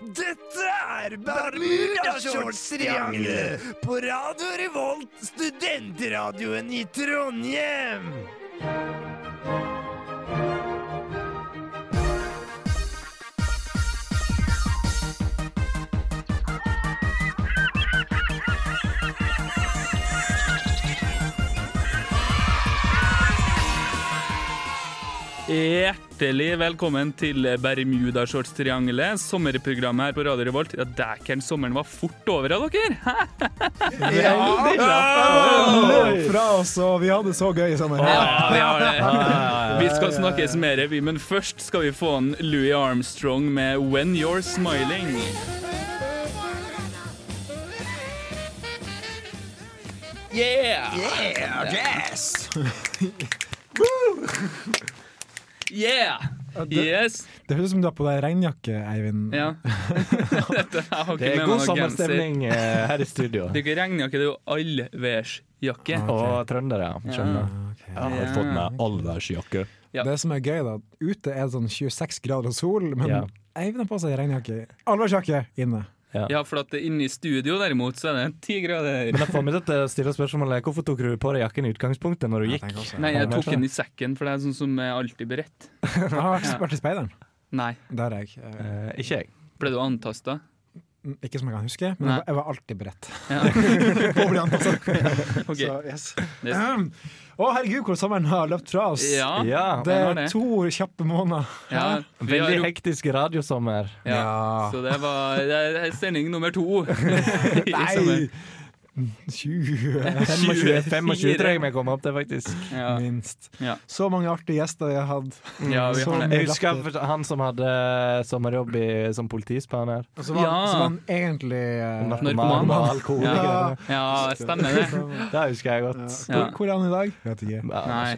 Dette er Bermudashortstriangelet på Radio Revolt, studentradioen i Trondheim. Hjertelig velkommen til Bermudashortstriangelet, sommerprogrammet her på Radio Revolt. Ja, dækeren, sommeren var fort over av dere! Hæ? løp fra oss, og vi hadde så gøy sammen. Ja, vi har det. Vi skal snakkes mer, vi, men først skal vi få en Louis Armstrong med 'When You're Smiling'. Yeah! Yeah, yes! Yeah! det- Yes! Det høres ut som du har på deg regnjakke, Eivind. Ja. Dette, jeg har ikke Det er god med meg noen genser. sammenstemning eh, her i studio. Det er ikke regnjakke, det er jo allværsjakke. Og trøndere. Skjønner. ok. Jeg har fått meg allværsjakke. Ja. Det som er gøy, da ute er det sånn 26 grader og sol, men Ja. Eivind har på seg regnjakke. Alvorsjakke inne. Ja, for at inne i studio derimot, så er det ti grader. Men jeg får meg til å stille spørsmålet hvorfor tok du på deg jakken i utgangspunktet når du gikk? Nei, jeg tok den i sekken, for det er sånn som jeg alltid blir rett. Jeg har vært- vært i speideren. Nei. Der er jeg. Eh, Eh, ikke jeg. Ble du antasta? Ikke som jeg kan huske, men jeg Nei. var- jeg var alltid beredt. Ja. På å bli antastet. OK. Så, yes. Yes. Ahem. Å, herregud, hvor sommeren har løpt fra oss. Ja. Ja. Det den har er det. to kjappe måneder. ja. Vi har Veldig jo- hektisk radiosommer. ja. Ja. Så det var det er sending nummer to. Nei! 20 25, 25 tror jeg vi kom opp til, faktisk. Ja. minst. Ja. Så mange artige gjester vi har hatt. ja, vi har det. Jeg husker han som hadde sommerjobb i, som politispanner. Og så var, Ja. så var han egentlig eh, Narkoman. og alkoholiker. Ja. Ja, stemmer det. Det husker jeg godt. Hvor, hvor er han i dag? Vet ikke. Ja, Nei.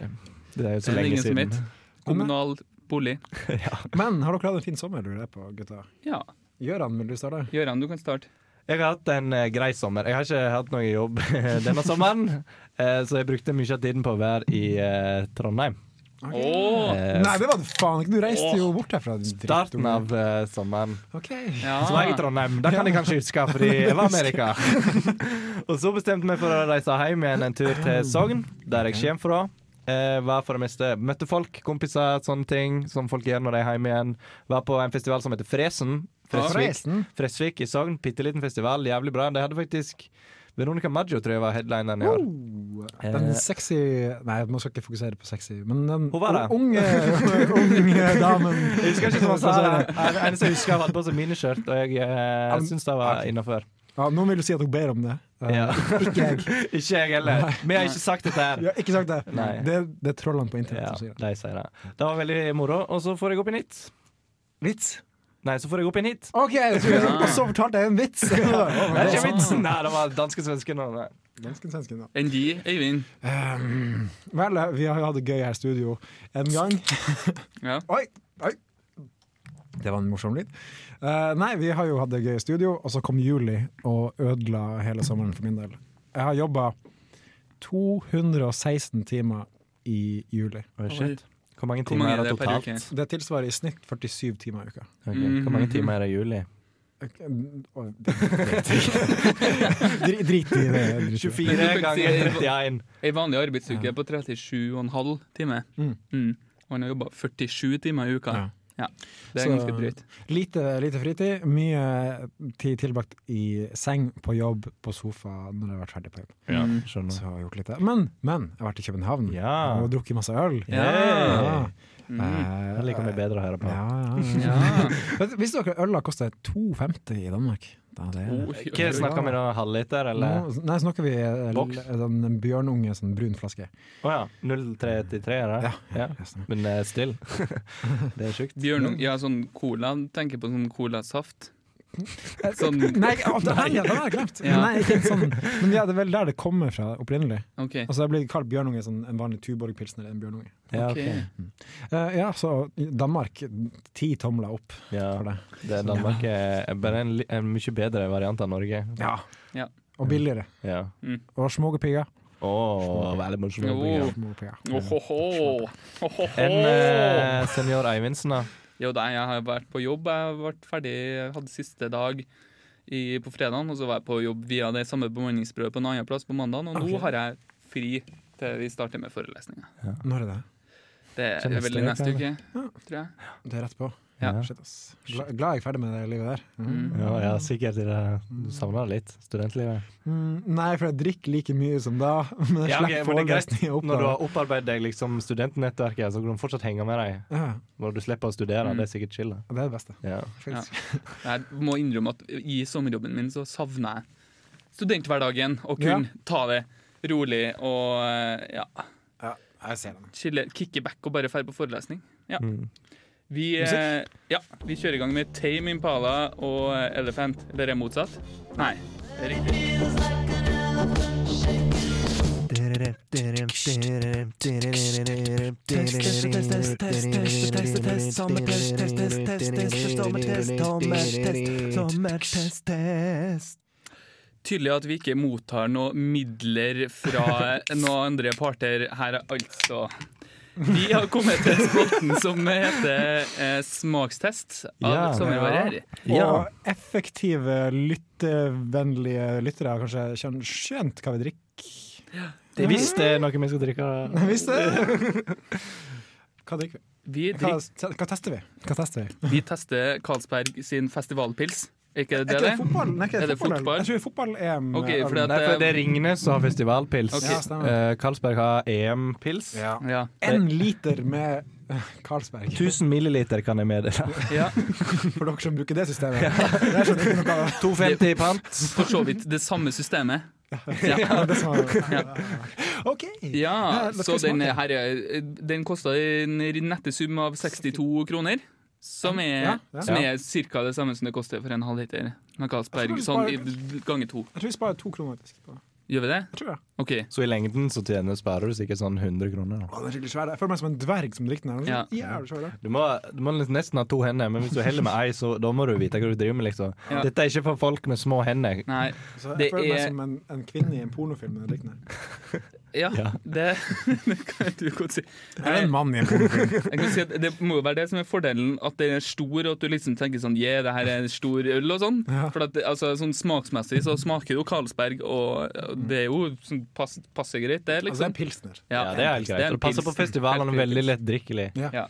Det er jo Det så er lenge ingen som siden. vet. Kommunal bolig. Men har dere hatt en fin sommer, lurer jeg på, gutta? Ja. Gøran, vil du starte? Gøran, du kan starte. Jeg har hatt en eh, grei sommer. Jeg har ikke hatt noe jobb denne sommeren, eh, så jeg brukte mye av tiden på å være i eh, Trondheim. Åh Eh, Nei, det var det faen ikke! Du reiste jo bort herfra. din starten drittunge. av eh, sommeren Ok. Ja. så var jeg i Trondheim. Det kan jeg kanskje huske, fordi jeg var i Amerika. Og så bestemte jeg meg for å reise hjem igjen en tur til Sogn, der jeg kommer fra. Eh, var for det meste Møtte folk, kompiser, sånne ting som folk gjør når de er hjemme igjen. Var på en festival som heter Fresen. Fresvik. Forresten. Fresvik i Sogn. Bitte liten festival, jævlig bra. De hadde faktisk Veronica Maggio, tror jeg var headlineren i år. Oh, den Eh. sexy Nei, man skal ikke fokusere på sexy, men den Hun var der. unge, unge damen Jeg husker ikke hva han sa. Det eneste jeg husker, var at han hadde på seg miniskjørt, og jeg eh, syns det var innafor. Ja, Noen vil jo si at hun ber om det. Eh, Ja. Ikke jeg. Ikke jeg heller. Vi har ikke sagt dette her. Jeg har ikke sagt det. Nei. Det, det er trollene på internett Ja, som sier det. de sier det. Det var veldig moro. Og så får jeg opp en hit. Vits? Nei, så får jeg opp en hit. Ok, jeg tror- Ja. og så fortalte jeg en vits! Det er ikke vitsen! Nei, sånn. det var danske-svensken. og det- Dansken, svensken, da. Enn de, Øyvind. Ehm, vel, vi har jo hatt det gøy her i studio en gang. Ja. Oi, oi! Det var en morsom lyd. Eh, nei, vi har jo hatt det gøy i studio, og så kom juli og ødela hele sommeren for min del. Jeg har jobba 216 timer i juli. Oi, shit. Hvor mange Hvor timer mange er det er det per totalt? uke? Mm. Det tilsvarer i snitt 47 timer i uka. Ok, Hvor mange timer er det i juli? Ok, og- Dri- Drit i det. drit i det. 24 ganger 31. Ei vanlig arbeidsuke er på 37,5 timer. Mm. Mm. Og han har jobba 47 timer i uka. Ja. Ja. Det er Så- ganske drøyt. Lite, lite fritid, mye tid tilbrakt i seng, på jobb, på sofa når jeg har vært ferdig på jobb. Ja, Mm. Så skjønner. jeg har gjort litt det. Men, men jeg har vært i København Ja. og drukket masse øl. Ja. Mm. Eh, Jeg liker meg bedre å høre på. Ja, ja, ja. Ja. Vet- Visste dere at øla koster 2,50 i Danmark? Da, det er- Oi, Oh, oi, Hva oi. snakker vi da? Halvliter, eller? Å Nå, nei, snakker vi eh, Boks? sånn en bjørnunge, sånn brun flaske. ja. 0,33 er det? Ja. det stemmer. Men eh, still. Det er sjukt. Bjørnung, ja, sånn cola. Tenker på sånn colasaft. Sånn, Nei, å, den, den, den har jeg glemt! Ja. Nei, ikke en sånn. Men ja, det er vel der det kommer fra opprinnelig. OK. Altså, jeg blir kalt bjørnunge sånn, en vanlig Tuborg-pilsner. er En bjørnunge. Ja, ok. ok. Eh, ja, så Danmark, ti tomler opp for Ja, det. det er Danmark er bare en, li- en mye bedre variant av Norge. Ja. Ja. Og billigere. Ja. Og smågepigger. Åh, veldig morsomt. Jo. Smågepigger. Ohoho. Ohoho. En eh, senior Eivindsen, da. Det er jo der jeg har vært på jobb. Jeg ble ferdig, jeg hadde siste dag i, på fredagen, og så var jeg på jobb via det samme bemanningsbyrået på en annen plass på mandag, og nå har jeg fri til vi starter med forelesninga. Eh, Når er det? Det Så er vel i neste neste uke, uke, tror jeg. Det er rett på. Ja. Shit, ass. Gla, glad jeg er ferdig med det livet der. Mm. Mm. Ja, ja, sikkert. i det- Du savner det litt, studentlivet. Mm, nei, for jeg drikker like mye som da, men jeg Ja, ok, slipper men det er greit. forelesninger opp. Når du har opparbeidet deg liksom studentnettverket, så kan du fortsatt henge med deg. Ja, Når du slipper å studere, Mm. det er sikkert chill. da. det er det beste. Ja. Faktisk. Jeg må innrømme at i sommerjobben min så savner jeg studenthverdagen, og kunne ta det rolig og eh, ja, Ja, jeg ser den. chille, kicke back og bare dra på forelesning. Ja. Mm. Vi, eh, ja, vi kjører i gang med Tame Impala og Elephant. Eller er det motsatt? Nei. det er riktig. Tydelig at vi ikke mottar noen midler fra noen andre parter her, altså. Vi har kommet til spalten som heter eh, Smakstest av Ja. sommervarer. Ja. Og effektive, lyttevennlige lyttere har kanskje skjønt- skjønt hva vi drikker. Hvis det er eh, noe vi skal drikke da. Visste det? Hva drikker vi? Vi, Hva, drikk, hva tester vi? Hva tester vi? vi tester Carlsberg sin festivalpils. Er ikke det Er ikke det det? fotball? Nei, ikke Er det fotball? fotball? Jeg tror fotball er eh, med Ok, øl. for det at- Nei, for det er Ringnes som har festivalpils. Ok. Ja, stemmer. Eh, Karlsberg har EM-pils. ja. Ja. En liter med eh, Carlsberg, 1000 milliliter kan jeg meddele. ja. for dere som bruker det systemet. Jeg skjønner ikke noe av det. 250 i pant. For så vidt det samme systemet. Det er det som er- OK. Ja, Ja, hva så skal den, smake? her, er- den kosta en nette sum av 62 kroner. Som er, Ja, ja. som er ca. det samme som det koster for en halvliter med Carlsberg. Jeg tror Sånn vi i- ganger to. Jeg tror vi sparer to kroner. faktisk på det. Gjør vi det? Jeg tror det. OK. Så i lengden så tjener sparer du sikkert sånn 100 kroner. da. Å, den er skikkelig svær. Jeg føler meg som en dverg som drikker den. Ja. her. Jævlig svær. da. Du må, du må nesten ha to hender, men hvis du heller med ei, så da må du vite hva du driver med. liksom Ja. Dette er ikke for folk med små hender. Nei. Så jeg Det føler meg er- som en, en kvinne i en pornofilm. når jeg drikker den her. Ja, Ja. det, det kan du godt si. Eller en mann i en pornofilm. Jeg kan si at Det må jo være det som er fordelen, at den er stor, og at du liksom tenker sånn Yeah, det her er en stor øl, og sånn. Ja. For at, det- altså, sånn smaksmessig så smaker jo Carlsberg, og og det er jo sånn pass, passe greit, Altså, det det, er liksom. en pilsner. Ja, det er helt greit. en Og det passer på pils. festivalen, Helt og veldig pils. lett drikkelig. Ja.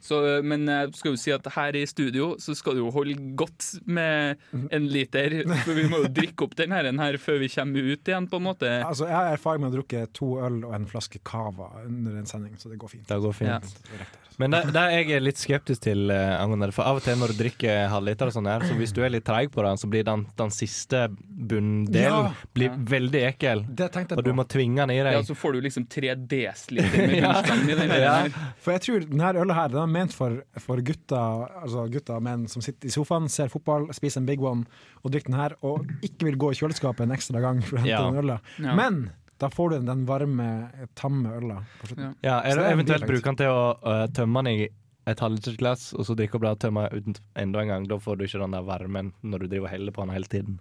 Så, øh, men jeg skal jo si at her i studio så skal du jo holde godt med en liter. For vi må jo drikke opp den her, den her før vi kommer ut igjen, på en måte. Altså, jeg har erfaring med å drukke to øl og en flaske cava under en sending, så det går fint. Det går Ja. fint. Men det, det jeg er litt skeptisk til, eh, angående det, for av og til når du drikker halvliter, og sånn her, så hvis du er litt treig på den, så blir den, den siste bunndelen Ja. blir veldig ekkel. Det tenkte Og jeg du på. må tvinge den i Ja, deg. så får du liksom tre desiliter med bunnstangen i den der. Ja. For jeg tror denne ølet her den er ment for, for gutter, altså gutter og menn som sitter i sofaen, ser fotball, spiser en Big One og drikker den her, og ikke vil gå i kjøleskapet en ekstra gang for å hente Ja. den ølet. Ja. Men da får du den varme, tamme ølet på slutten. Ja, Så det eller er en eventuelt bieffekt. bruke den til å eh, tømme den i et halvlitersglass, og så drikke opp det og tømme uten enda en gang. Da får du ikke den der varmen når du driver og heller på den hele tiden.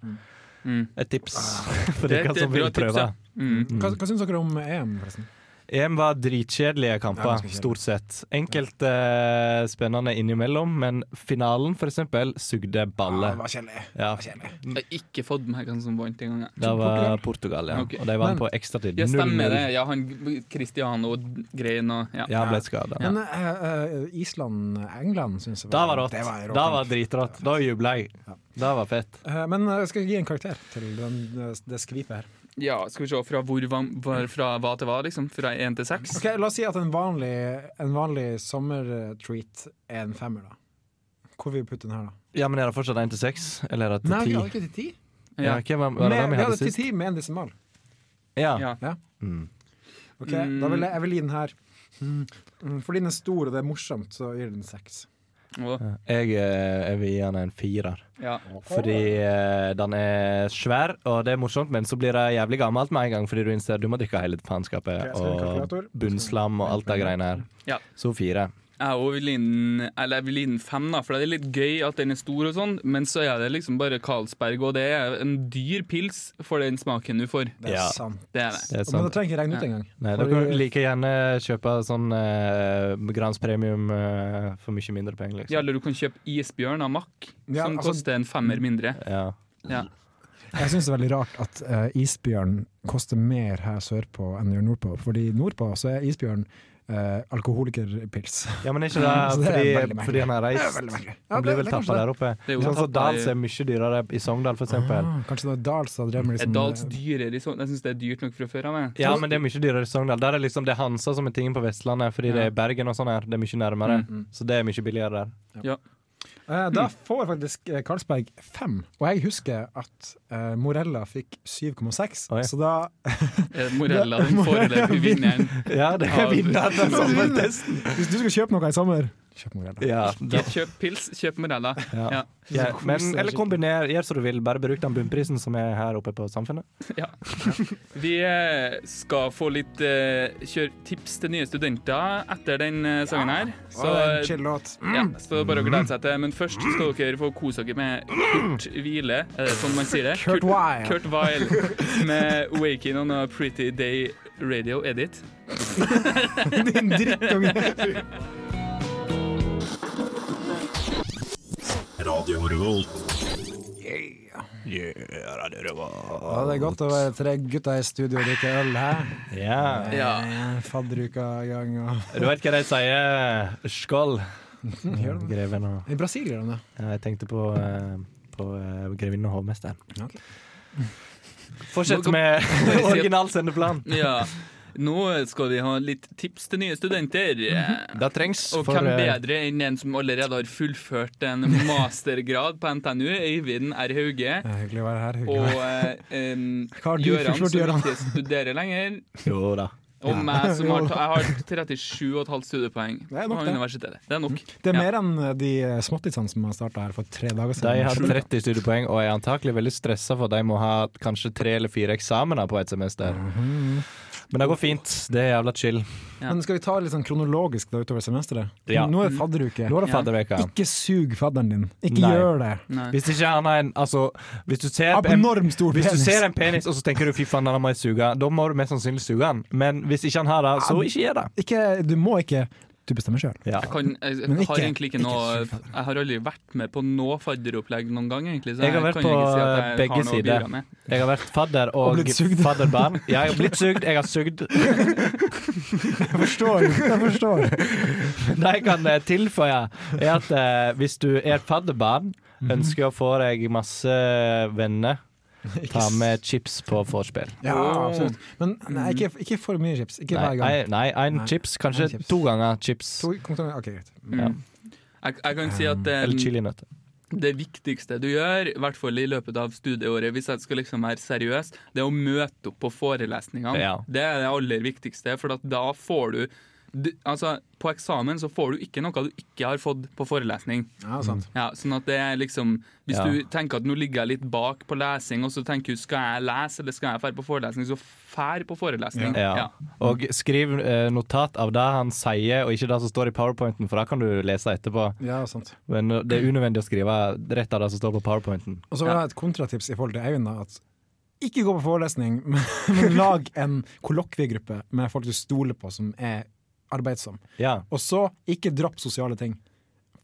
Mm. Et tips Ah. for Det er dere et som bra vil tips, prøve. ja. Mm. Hva, hva syns dere om EM, forresten? EM var dritkjedelige Ja, kamper, ganske kjedelig. stort sett. Enkelte eh, spennende innimellom, men finalen, for eksempel, sugde Ja, baller. Ah, det var kjedelig. Ja, Jeg har ikke fått med hvem som vant engang. jeg. det var Portugal, ja. Ok. Og de vant Men- på ekstratid. Ja, 0-0. stemmer det. Ja, han Cristiano greien og ja. Ja, ble skada. Men eh, eh, Island-England syns jeg Da var rått. det var en rå Da kamp. var dritrått. Da jubla jeg. Det var fett. Eh, Men eh, jeg skal gi en karakter til den, eh, det skvipet her. ja, skal vi se fra hvor var, var fra hva til hva, liksom? Fra én til seks? Ok, La oss si at en vanlig, en vanlig sommertreat er en femmer, da. Hvor vil vi putte den her, da? Ja, men er det fortsatt 1 til 6? Eller er det Nei, vi til 10? hadde ikke til ti. Ja, Ja. hvem var, var Med- det hvem Vi vi hadde hadde til sist? ti med en desimal. Ja. Ja. Mm. Ok, Mm. Da vil jeg, jeg vil gi den her Mm, Fordi den er stor og det er morsomt, så gir jeg den seks. Og, Jeg, eh, jeg vil gi han en firer. ja. Fordi eh, den er svær, og det er morsomt, men så blir det jævlig gammelt med en gang, fordi du innser du må drikke hele faenskapet Ok, skal vi ha og kalkulator? bunnslam og alt det greiene her. Ja. Så fire. Jeg òg vil inn Eller jeg vil inn fem, da, for det er litt gøy at den er stor, og sånn men så er det liksom bare Carlsberg, og det er en dyr pils for den smaken du får. Det er Ja. sant. Det er det. Det er Men det sant. trenger ikke regne ut engang. Nei, For dere kan like gjerne kjøpe sånn eh, Grans Premium eh, for mye mindre penger, Ja, liksom. eller du kan kjøpe isbjørn av Mack, Ja, som altså- koster en femmer mindre. Ja. Ja. Jeg syns det er veldig rart at eh, isbjørn koster mer her sørpå enn det gjør nordpå. Fordi nordpå så er isbjørn eh, alkoholikerpils. ja, men er ikke det Så det er veldig fordi, merkelig. fordi han har Det er reist? veldig merkelig. Ja, Han blir det- vel det er kanskje tappa der oppe. Det er jo Sånn som tappa i- Dals er mye dyrere i Sogndal, for eksempel. Ah, kanskje det var Dals da drev med Er liksom Dals dyrere i sånn? Jeg syns det er dyrt nok fra før av. jeg. Ja, men det er mye dyrere i Sogndal. Der er liksom det er Hansa som er tingen på Vestlandet, fordi det er Bergen og sånn her. Det er mye nærmere. Mm, Så det er mye billigere der. Eh, Da får faktisk eh, Carlsberg fem. Og jeg husker at eh, Morella fikk 7,6, Oi. så da Er det Morella den foreløpige vinneren. Ja, det er Ja, vinneren av sommertesten. Hvis du skal kjøpe noe i sommer, kjøp Morella. Ja, Ikke kjøp pils, kjøp Morella. Ja. ja, men, Kose eller kombiner, gjør som du vil. Bare bruk den bunnprisen som er her oppe på Samfunnet. Ja. Vi eh, skal få litt eh, kjør tips til nye studenter etter den eh, sangen her. Så, eh, Og en chill låt. ja, så det er bare å glede seg til. Men først skal dere få kose dere med Kurt Hvile, er det sånn man sier det? Kurt Weil. Kurt Weil med 'Waking on a Pretty Day Radio Edit'. Din drittunge! Radio Revolt. Ja, det er godt å være tre gutter i studio og drikke øl, hæ? Ja. Eh, Fadderuka i gang og Du vet hva de sier? Skål. Gjør det. Greven og I Brasil gjør de det. ja, Jeg tenkte på, eh, på eh, grevinnen og hovmesteren. Ok. Fortsett med original sendeplan. Ja. Nå skal vi ha litt tips til nye studenter. Mhm. Det trengs. Og for, hvem eh, bedre enn en som allerede har fullført en mastergrad på NTNU, Øyvind R. Hauge, Eh, Hyggelig å være her. hyggelig å og være her. eh, em, Hva har du Gøran, fullført, som Gøran? ikke studerer lenger, Jo da. og meg, som har, ta- jeg har 37,5 studiepoeng Det er nok, på det. universitetet. Det er nok. Det er Ja. mer enn eh, de småttisene som har starta her for tre dager De siden. har 30 studiepoeng og er antakelig veldig stressa for de må ha kanskje tre eller fire eksamener på et semester. Mhm. Men det går fint. Det er jævla chill. Ja. Men skal vi ta litt sånn kronologisk da utover semesteret? Ja. Nå er det fadderuke. Nå er det Ja. fadderveka. Ikke sug fadderen din. Ikke Nei. gjør det. Nei. Hvis ikke han har en Altså, hvis du ser en, Abnorm stor hvis du penis. ser en penis og så tenker du 'fy faen, den må jeg suge', da må du mest sannsynlig suge den. Men hvis ikke han har det, så ikke gjør det. Ikke, du må ikke Du bestemmer sjøl. Ja. Jeg, kan, jeg, Men har ikke- egentlig ikke ikke noe sug fadder. Jeg har aldri vært med på noe fadderopplegg noen gang, egentlig. Så Jeg har vært kan på eh, ikke si at jeg begge har noe å sider. bidra med. Jeg har vært fadder og, Og blitt sugd. fadderbarn. Ja, jeg har blitt sugd, jeg har sugd. Jeg forstår. Jeg forstår. Det jeg kan eh, tilføye, er at eh, hvis du er et fadderbarn, Mhm. ønsker å få deg masse venner, ta med chips på vorspiel. Ja, absolutt. Men nei, ikke, ikke for mye chips. Ikke Nei, hver gang. nei, nei, en Nei, chips, en kanskje chips. to ganger chips. To, kom til, ok, greit. Ja. Mm. Jeg, jeg kan si at Eller eh, chilinøtter. det viktigste du gjør, i hvert fall i løpet av studieåret, hvis jeg skal liksom være seriøs, det er å møte opp på forelesningene. Ja. Det er det aller viktigste, for at da får du du, altså, På eksamen så får du ikke noe du ikke har fått på forelesning. Mm. Ja, sant. Ja, sånn at det er liksom Hvis Ja. du tenker at nå ligger jeg litt bak på lesing, og så tenker du skal jeg lese eller skal jeg fære på forelesning, så fær på forelesning. Ja. Og skriv eh, notat av det han sier, og ikke det som står i powerpointen, for det kan du lese etterpå. Ja, sant. Men det er unødvendig å skrive rett av det som står på powerpointen. Og så vil jeg ha et kontratips i forhold til Eivind. da, at Ikke gå på forelesning, men, men lag en kollokviegruppe med folk du stoler på, som er arbeidsomme. Ja. Og så, ikke dropp sosiale ting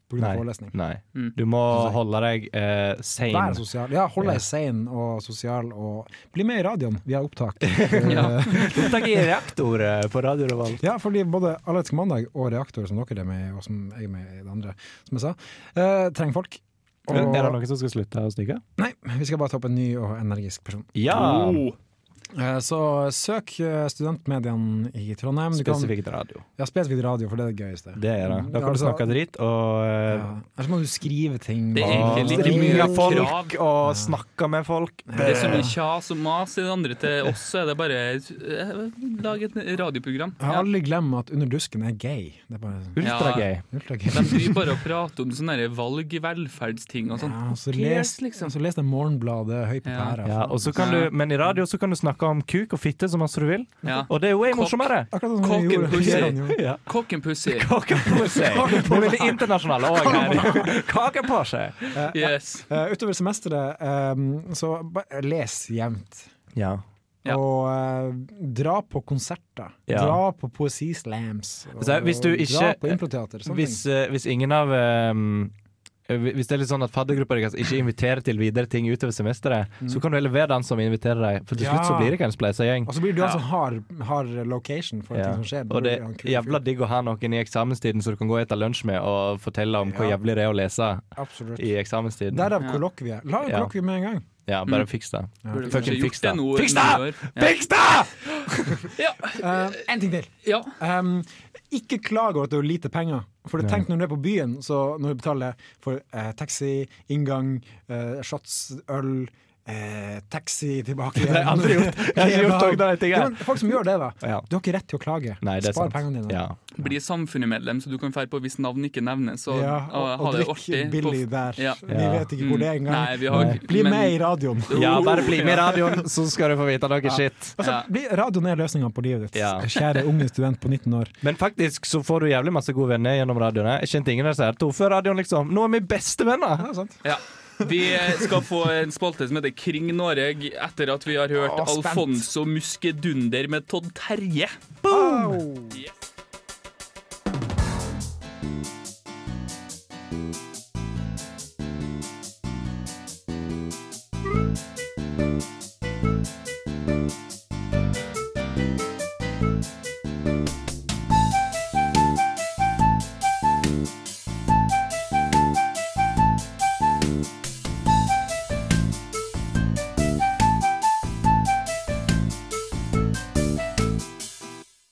pga. Nei. forelesning. Nei. Mm. Du må holde deg eh, sane. Vær sosial. Ja, hold Ja. deg sein og sosial, og bli med i radioen. Vi har opptak. Eh, Ja. Opptak i reaktor eh, på Radio Revolt. Ja, fordi både Allerske mandag og Reaktor, som dere er med i, og som jeg er med i det andre, som jeg sa, eh, trenger folk. Og, Er det noen som skal slutte å stikke? Nei, vi skal bare ta opp en ny og energisk person. Ja! Oh. Eh, så søk eh, studentmediene i Trondheim. Du kan- Spesifikt radio. Ja, spesifikt radio, for det er det gøyeste. Det er det. Da kan du Altså- snakke dritt og eh, Ja. Ellers må du skrive ting. Det er og- egentlig litt Altså, Det er mye mye- folk. og snakke med folk. Det er så mye kjas og mas i det andre til oss, så er det bare eh, Lag et radioprogram. Jeg har Ja. aldri glemt at Under dusken er gay. Det er bare Ultragøy. ultragay. De driver bare og prater om sånne her valg i velferdsting og sånn. Ja, så Cares, les, liksom. så les det Morgenbladet høy på Ja. pæra. Ja, og så kan du, men i radio så kan du snakke snakka om kuk og fitte så masse du vil, Ja. og det er jo way Kokk. morsommere. Akkurat sånn Kokken vi gjorde. pusser. Gjør han jo. Ja. Kokenpussy. Kake på seg. Det blir det internasjonale òg her. Kake på seg. Yes. Eh, utover semesteret, eh, så ba- les jevnt. Ja. Ja. Og eh, dra på konserter. Ja. Dra på poesislams. og Så hvis du Dra ikke- på improteater. Sånne Hvis, eh, hvis ingen av ehm, eh, Hvis det er litt sånn at faddergruppa deres ikke inviterer til videre ting utover semesteret, Mm. så kan du heller være den som inviterer deg, for til Ja. slutt så blir det ikke en spleisa gjeng. ting. Og så blir du Ja. altså hard, hard location for Ja. ting som skjer. Og det blir han er kul jævla fyr. digg å ha noen i eksamenstiden som du kan gå etter lunsj med og fortelle om hvor Ja. jævlig det er å lese Absolutt. i eksamenstiden. Derav Ja. kollokviet. La en Ja. kollokvie med en gang. Ja, Mm. bare fiks det. Burde Fucking kanskje fiks det. gjort det nå. Fiks det! nå i år. Ja. Fiks det! Ja. Eh, en ting til. ja. Um, ikke klag over at det er lite penger. For det tenk når du er på byen, så når du betaler for eh, taxi, inngang, eh, shots, øl, eh, taxi tilbake igjen Det har jeg aldri gjort. Jeg har ikke gjort Kebab. noen av de tingene. Jo, men Folk som gjør det, da. Ja. Du har ikke rett til å klage. Nei, det er Spar sant. pengene dine. Ja. Bli samfunnsmedlem, så du kan dra på hvis navn ikke nevnes. Og, Ja, og, og, ha og det drikk artig. på- billig der. Ja. Vi vet ikke Mm. hvor det er engang. Nei, vi har Nei. Bli men- med i radioen. ja, bare bli med i radioen, så skal du få vite noe shit. Altså, Ja. bli, radioen er løsninga på livet ditt, Ja. kjære unge student på 19 år. Men faktisk så får du jævlig masse gode venner gjennom radioene. Jeg kjente ingen der som sa før radioen, liksom. Nå er vi bestevenner! Ja, sant? Ja. Vi eh, skal få en spalte som heter Kring Noreg, etter at vi har hørt Å, spent. Alfonso Muskedunder med Todd Terje.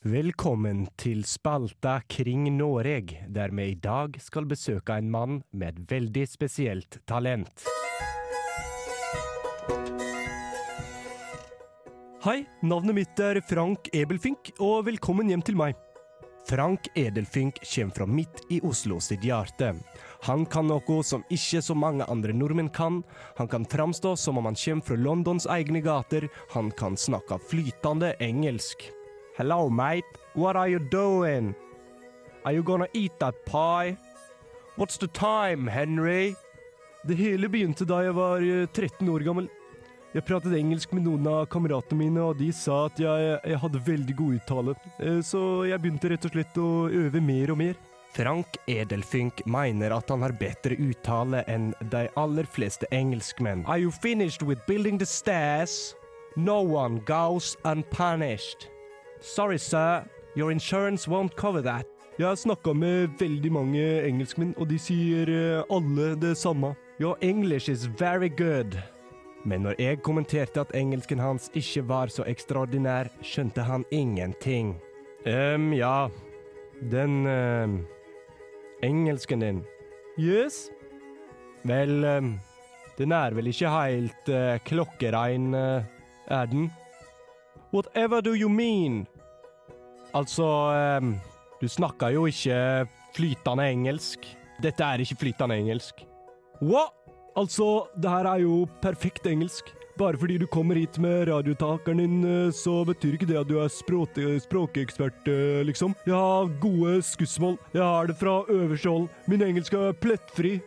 Velkommen til spalta Kring Noreg, der vi i dag skal besøke en mann med et veldig spesielt talent. Hei, navnet mitt er Frank Ebelfink, og velkommen hjem til meg. Frank Edelfink kommer fra midt i Oslo sitt hjerte. Han kan noe som ikke så mange andre nordmenn kan. Han kan framstå som om han kommer fra Londons egne gater. Han kan snakke flytende engelsk. Hello, mate. What are you doing? Are you gonna eat that pie? What's the time, Henry? Det hele begynte da jeg var eh, 13 år gammel. Jeg pratet engelsk med noen av kameratene mine, og de sa at jeg, jeg hadde veldig god uttale. Eh, Så jeg begynte rett og slett å øve mer og mer. Frank Edelfink mener at han har bedre uttale enn de aller fleste engelskmenn. Are you finished with building the stairs? No one goes unpunished. Sorry, sir. Your insurance won't cover that. Jeg har snakka med veldig mange engelskmenn, og de sier eh, alle det samme. Your English is very good. Men når jeg kommenterte at engelsken hans ikke var så ekstraordinær, skjønte han ingenting. Ehm, ja. Den ehm, engelsken din. Yes? Vel, ehm, den er vel ikke helt eh, klokkerein, eh, er den? Whatever do you mean? Altså, ehm, du snakker jo ikke flytende engelsk. Dette er ikke flytende engelsk. What? Altså, det her er jo perfekt engelsk. Bare fordi du kommer hit med radiotakeren din, eh, så betyr ikke det at du er språte- språkekspert, eh, liksom. Jeg har gode skussmål. Jeg har det fra øverste hold. Min engelsk er plettfri.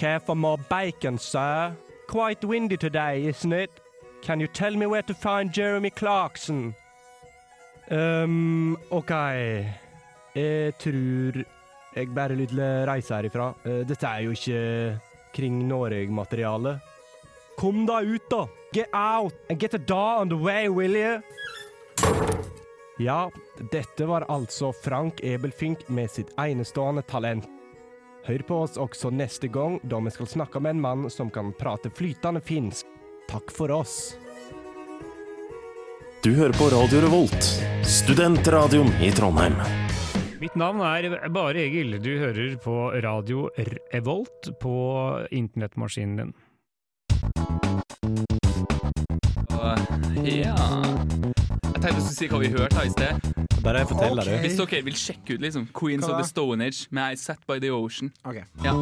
Kaffe med bacon, sir. Quite windy today, isn't it? Can you tell me where to find Jeremy Clarkson? Um, ok. Jeg tror jeg bare vil reise herifra. Eh, Dette er jo ikke kring Norge-materiale. Kom deg ut, da! Get out and get a da on the way, will you? Ja, dette var altså Frank Ebelfink med sitt enestående talent. Hør på oss også neste gang, da vi skal snakke med en mann som kan prate flytende finsk. Takk for oss. Du hører på Radio Revolt, studentradioen i Trondheim. Mitt navn er Bare Egil. Du hører på radio Revolt på internettmaskinen din. Og, ja Jeg tenkte jeg skulle si hva vi hørte her i sted. Bare jeg forteller det. Hvis dere vil sjekke ut liksom Queens Hva of da? the Stone Age med I Set by the Ocean. Ok. Ja.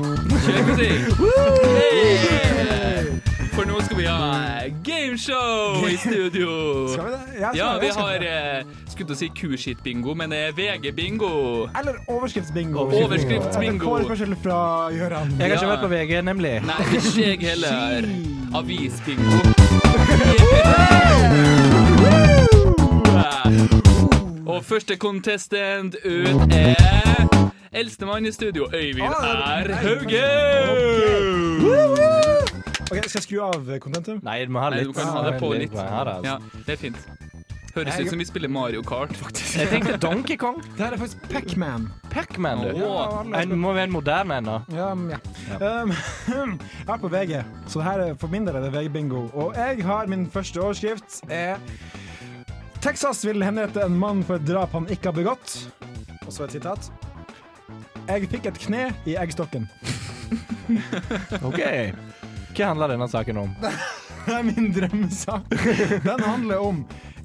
Kjør musikk! Yeah! For nå skal vi ha eh, Game gameshow i studio! Skal vi det? Ja, skal Ja, vi skal har eh, skulle til å si kuskitt-bingo, men det er VG-bingo. Eller overskriftsbingo. Overskriftsbingo. Etter forespørsel fra Gøran. Jeg har ikke Ja. vært på VG, nemlig. Nei, ikke jeg heller. Avisbingo. Og første contestant ut er Eldstemann i studio, Øyvind Ah, R. nei, Hauge. Ok, Skal jeg skru av kontentum? Nei, du må ha Nei, litt. du kan ha det på litt. Ja, her, altså. Ja, det er fint. Høres ut som vi spiller Mario Kart, faktisk. Jeg tenkte Donkey Kong. Det her er faktisk Pac-Man. Pac-Man, du. Åh. En, må være en moderne en, da. Ja, men ja. Um, jeg er på VG, så det her er, for min del er det VG-bingo. Og jeg har min første overskrift er Texas vil henrette en mann for et drap han ikke har begått. Og så et sitat. Jeg fikk et kne i eggstokken. OK. Hva handler denne saken om? Det er min drømmesak. Den handler om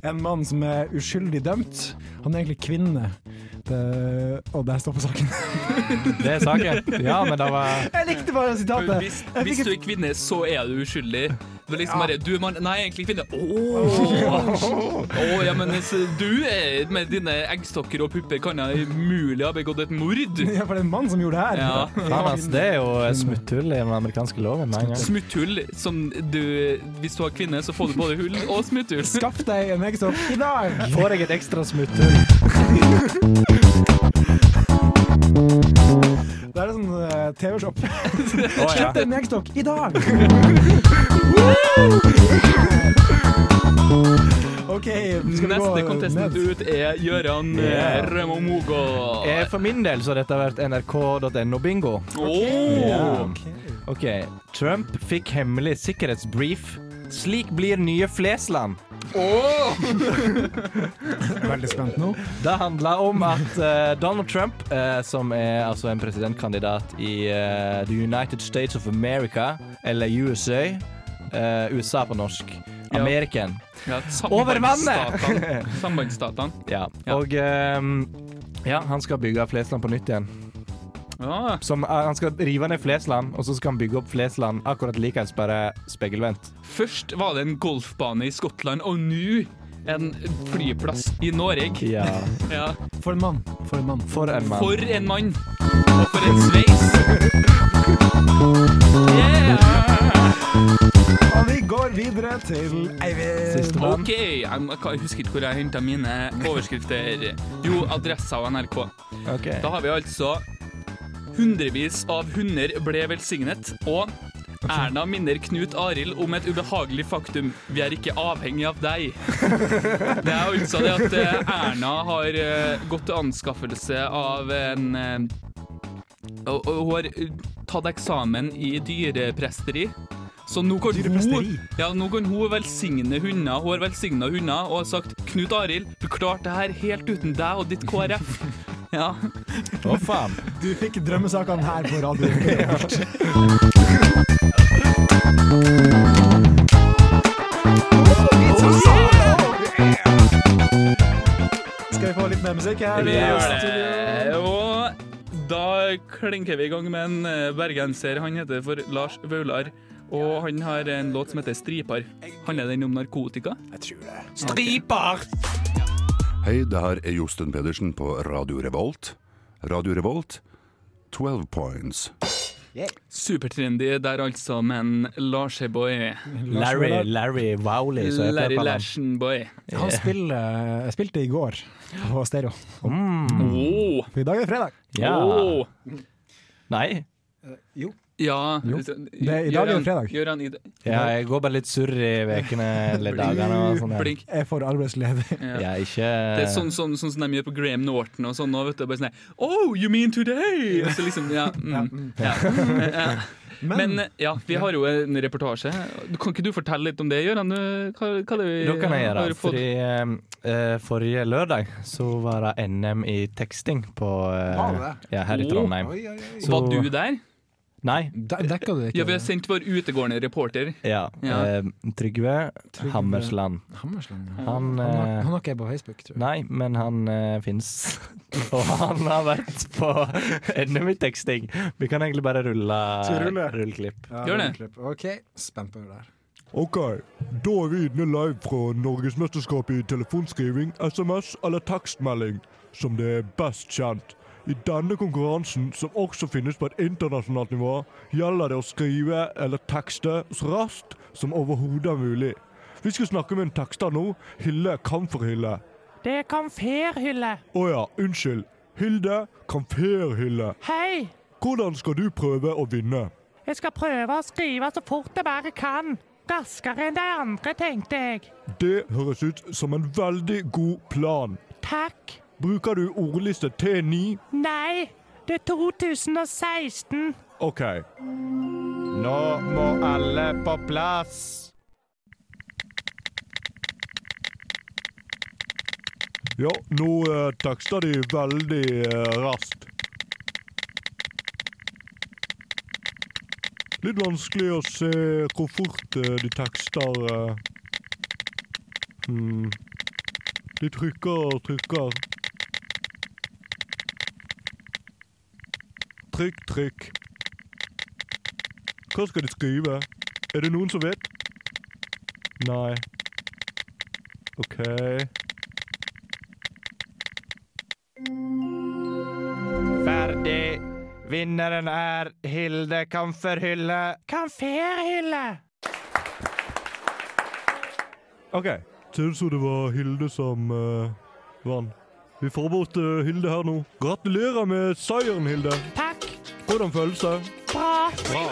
en mann som er uskyldig dømt. Han er egentlig kvinne. Det, og der står på saken. Det er saken. Ja, men det var Jeg likte bare sitatet. Hvis, Jeg fikk hvis et- du er kvinne, så er du uskyldig. Du er liksom bare Du er mann. Nei, jeg er egentlig kvinne. Åh Åh, ja, men hvis du er med dine eggstokker og pupper, kan jeg umulig ha begått et mord? Ja, for det er en mann som gjorde altså, det her. Ja. Faen, ass, altså, Det er jo et smutthull i den amerikanske loven med en gang. Smutthull som du Hvis du har kvinne, så får du både hull og smutthull. Skaff deg en eggstokk i dag! Får jeg et ekstra smutthull? Det er en sånn eh, TV-shop. Å ja. Kjøp deg en eggstokk i dag! OK, skal vi gå Neste contestant ned? ut er Gøran eh, Ja. Rømomogo. Eh, For min del så har dette vært nrk.no-bingo. Åh. OK. Trump fikk hemmelig sikkerhetsbrief. Slik blir nye Flesland. Veldig spent nå. Det handler om at eh, Donald Trump, eh, som er altså en presidentkandidat i eh, The United States of America, eller USA, eh, USA på norsk, Ja. American, Ja, Over vannet! sambandsstatene. Sambandsstatene. ja. Ja. Og ehm, ja, han skal bygge Flesland på nytt igjen. Ja. Som, eh, han skal rive ned Flesland, og så skal han bygge opp Flesland akkurat likeens, bare speilvendt. Først var det en golfbane i Skottland, og nå en flyplass i Norge. Ja. Ja. For en mann. For en mann. For en mann. For en mann, og for en sveis. Yeah! Og vi går videre til Eivind. Sistemann. OK, jeg, må- jeg husker ikke hvor jeg henta mine overskrifter. Jo, Adressa og NRK. Ok. Da har vi altså Hundrevis av hunder ble velsignet, og Erna minner Knut Arild om et ubehagelig faktum. Vi er ikke avhengig av deg. Det er altså det at eh, Erna har eh, gått til anskaffelse av en eh, og- og Hun har eh, tatt eksamen i dyrepresteri. Så nå kan, hun, Dyrepresteri? ja, nå kan hun velsigne hunder. Hun har velsigna hunder og har sagt 'Knut Arild, du klarte det her helt uten deg og ditt KrF'. Ja. Å, faen. Du fikk drømmesakene her på radio. Skal vi få litt mer musikk her? Eh, Og da klinker vi i gang med en eh, bergenser. Han heter for Lars Vaular. Og han har en låt som heter 'Stripar'. Handler den om narkotika? Hei, det her er Josten Pedersen på Radio Revolt. Radio Revolt, 12 points. Supertrendy der altså, men Larsheboy. Larry, Larry Wowley, så heter Larry det på han. Larsenboy. Han spiller, jeg spilte i går på stereo. Mm. Åh, For i dag er det fredag. Ja. åh. Nei. oh. Ja Jo, det er- i dag er det fredag. Gjøran, i dag- Ja, jeg går bare litt surr i ukene eller dagene og sånn. der. Blink. Jeg altså, er for arbeidsledig. Ja. Jeg er ikke Det er sånn, sånn, sånn som de gjør på Graham Norton og sånn. Og vet du, bare sånn her, Oh, you mean today? Og så liksom, ja, mm, ja. ja. Men eh, ja, vi har jo en reportasje. Du- Kan ikke du fortelle litt om det, Gøran? Du- Hva, hva er det vi Da kan jeg gjøre har det. fått? Fordi eh, forrige lørdag så var det NM i teksting på eh, Ah, Var det ja, her i Å. Trondheim. Så- Var du der? Nei. Dekka du Ja, vi har sendt vår utegående reporter. Ja. Ja. eh, Trygve Trygve. Hammersland. Hammersland? ja. Han Han har- eh, han har ikke jeg på Facebook, tror jeg. Nei, men han uh, fins. Og han har vært på NM i teksting. Vi kan egentlig bare rulle Skal vi rulle? rulle klipp. Ja, Gjør det. klipp. OK, spent på det der. Ok, da er vi inne live fra Norgesmesterskapet i telefonskriving, SMS eller tekstmelding, som det er best kjent. I denne konkurransen, som også finnes på et internasjonalt nivå, gjelder det å skrive eller tekste så raskt som overhodet er mulig. Vi skal snakke med en tekster nå, Hilde Kamferhille. Det er kamferhylle. Å ja, unnskyld. Hilde Kamferhille. Hei! Hvordan skal du prøve å vinne? Jeg skal prøve å skrive så fort jeg bare kan. Raskere enn de andre, tenkte jeg. Det høres ut som en veldig god plan. Takk. Bruker du ordliste T9 Nei, det er 2016. OK. Nå må alle på plass. Ja, nå eh, tekster de veldig eh, raskt. Litt vanskelig å se hvor fort eh, de tekster eh. hmm. De trykker og trykker. Trykk, trykk. Hva skal de skrive? Er det noen som vet? Nei. OK. Ferdig. Vinneren er Hilde Kamferhylle. Kamferhylle. Ok. Ser ut som det var Hilde som eh, vant. Vi får bort eh, Hilde her nå. Gratulerer med seieren, Hilde. Takk. Hvordan føles det? Bra.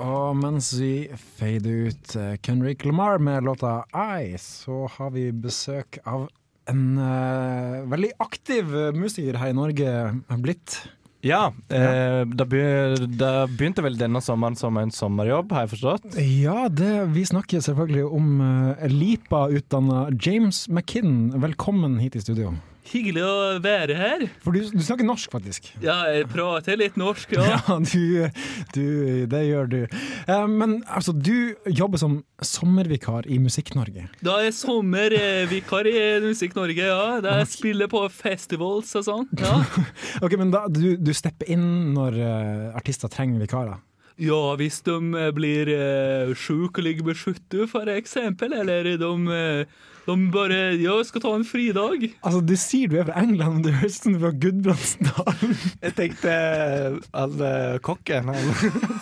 Og mens vi fader ut eh, Kendrick Lamar med låta I, så har vi besøk av en eh, veldig aktiv eh, musiker her i Norge eh, blitt. Ja, eh, da be- da begynte vel denne sommeren som en sommerjobb, har jeg forstått? Ja, det, vi snakker selvfølgelig om eh, Lipa-utdanna James McKinn. Velkommen hit i studio. Hyggelig å være her. For du, du snakker norsk, faktisk. Ja, jeg prater litt norsk, ja. Ja, du, du Det gjør du. Eh, men altså, du jobber som sommervikar i Musikk-Norge. Da er sommervikar i Musikk Norge, ja. Da jeg spiller på festivals og sånn. Ja, Ok, men da, du, du stepper inn når eh, artister trenger vikarer. ja hvis de eh, blir eh, sjuke og ligger på sjuttu, for eksempel, eller de, eh, de bare Ja, skal ta en fridag. Altså, Du sier du er fra England, men du høres ut som du er fra Gudbrandsdalen. Jeg tenkte han kokken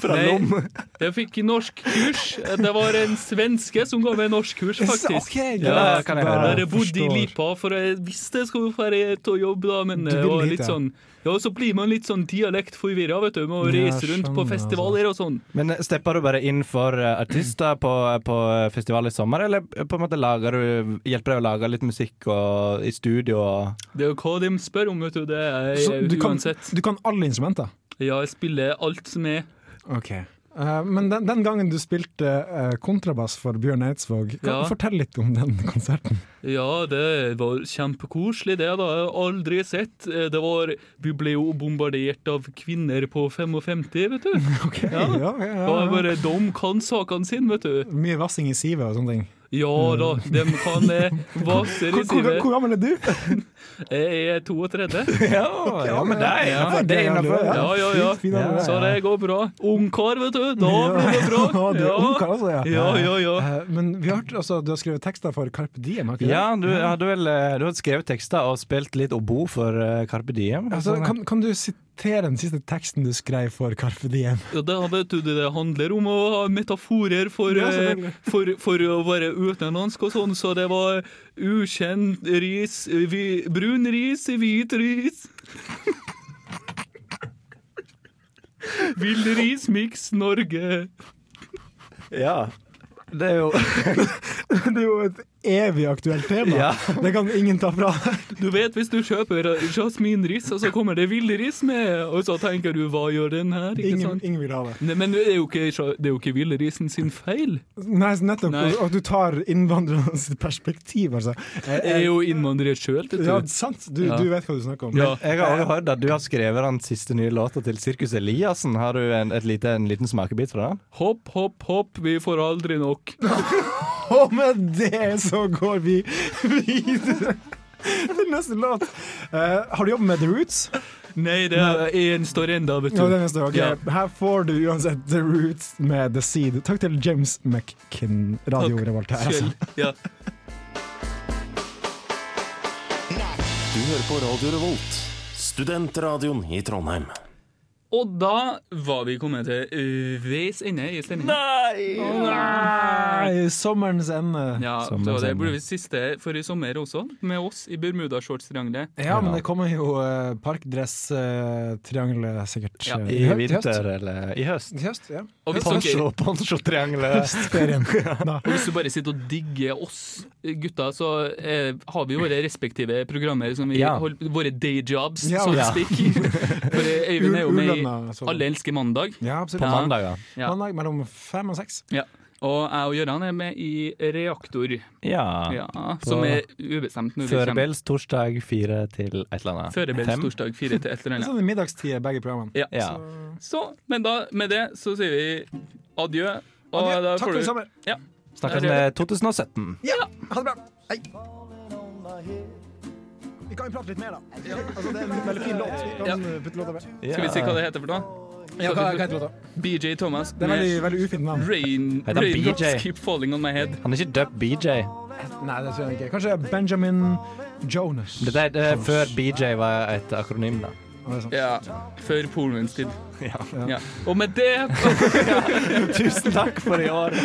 fra Nei. Lom. Jeg fikk norskkurs. Det var en svenske som ga meg norskkurs, faktisk. Ok, Ja, greit. kan jeg Da høre. Der jeg bodde i forstår. Lipa, for jeg visste jeg skulle være til å jobbe da, men Du det ville var hit, litt ja. sånn Ja, så blir man litt sånn dialektforvirra, vet du, med å Ja, reise rundt på skjønner, altså. festivaler og sånn. Men stepper du bare inn for eh, artister på, eh, på festival i sommer, eller eh, på en måte lager du, hjelper deg å lage litt musikk og, i studio? Og, Det er jo hva de spør om, vet du. Det er Så du kan, eh, uansett. du kan alle instrumenter? Ja, jeg spiller alt som er. Ok. Eh, men den, den gangen du spilte eh, kontrabass for Bjørn Eidsvåg, kan Ja. du fortelle litt om den konserten? Ja, det var kjempekoselig, det. da, jeg har aldri sett. Eh, Det var, Vi ble jo bombardert av kvinner på 55, vet du. Ok, ja, Ja. ja, ja, Da er bare De kan sakene sine, vet du. Mye vassing i sivet og sånne ting. Ja da, de kan eh, vaser i Mm. Hvor, hvor, sivet. hvor gammel er du? Jeg er 32. ja, ja, men det er Ja, det er gøy, innenfor. ja. Ja, ja, ja. Fint, fint, ja. Så det går bra. Ungkar, vet du. Da blir det bra. Ja, du er ungkar også, ja. Ja, ja, ja. Eh, men vi har hørt, altså, du har skrevet tekster for Carpe Diem, har ikke du? Ja, du hadde vel eh, du hadde skrevet tekster og spilt litt obo for eh, Carpe Diem. Altså, kan, kan du sitere den siste teksten du skrev for Carpe Diem? Ja, det, vet du, det handler om å ha metaforer for, Ja, eh, selvfølgelig. for, for å være utenlandsk og sånn, så det var ukjent ris, vi, brun ris, hvit ris. Vill ris mix Norge. Ja. Det er jo Det er jo et evig aktuelt tema. Ja. Det kan ingen ta fra deg. Du vet, hvis du kjøper jasminris, og så kommer det villris med, og så tenker du 'hva gjør den her'? Ikke Ingen, sant? ingen vil ha det. Nei, men det er jo ikke, det er jo ikke villrisen sin feil. Nei, så nettopp. Nei. At du tar innvandrernes perspektiv, altså. Eh, Jeg er jo innvandrer sjøl, vet ja, du. sant. Du, Ja. du vet hva du snakker om. Ja. Jeg har også hørt at du har skrevet den siste nye låta til Sirkus Eliassen. Har du en, et lite, en liten smakebit fra den? Hopp, hopp, hopp, vi får aldri nok. Og med det så går vi videre til neste låt. Eh, har du jobbet med The Roots? Nei, det er én står enda, vet du. Ja, den neste, ok. Ja. Her får du uansett The Roots med The Seed. Takk til James McKinn, Radio Revolt her. Altså. Skjøll. Ja. Du hører på Radio Revolt, studentradioen i Trondheim. Og da var vi kommet til ø, veis ende i sendingen. Nei, sommerens ende. Ja, Sommerens det var det ende. ble vi siste for i sommer også, med oss i Bermudashortstriangelet. Ja, men det kommer jo uh, parkdress-triangelet sikkert Ja. eh, I hø- vinter eller i høst. I høst, ja. Og hvis dere, Poncho, Poncho-triangelet. Ferien. Da. og hvis du bare sitter og digger oss gutta, så eh, har vi våre respektive programmer, som vi Ja. holder, våre dayjobs, Ja. so to Ja. speak. For eh, Øyvind er jo med i Ulønna, så- Alle elsker mandag, altså. Ja, absolutt. På mandager. Ja. Mandag mellom fem og seks. og jeg og Gøran er med i Reaktor, Ja. ja, som er ubestemt. når vi kommer. Førbels torsdag fire til et eller annet. Førebels Fem. torsdag fire til et eller Det er annet. sånn i middagstid er begge programmene. Ja. Ja. Så, men da, med det så sier vi adjø. Og Adjø. da Takk får for du- i sommer. Ja. Snakkes med 2017. Ha det bra. Hei. Vi kan jo prate litt mer, da. Ja, altså, det er en veldig fin låt. Vi Ja. kan eh, putte låta med. Skal vi si hva det heter for noe? Ja, hva, hva heter låta? BJ Thomas Det er veldig, med veldig ufint navn. Rain, Heter han Raindrops BJ? Keep Falling On My Head. Han er ikke dub BJ. Nei, det tror jeg ikke. Kanskje Benjamin Jonas. Dette er eh, før BJ var et akronym, da. Ja, det er sant. Ja, Før pornoens tid. Ja. Og med det Tusen takk for i år.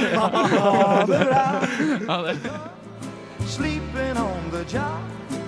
Ha det. sleeping on the job.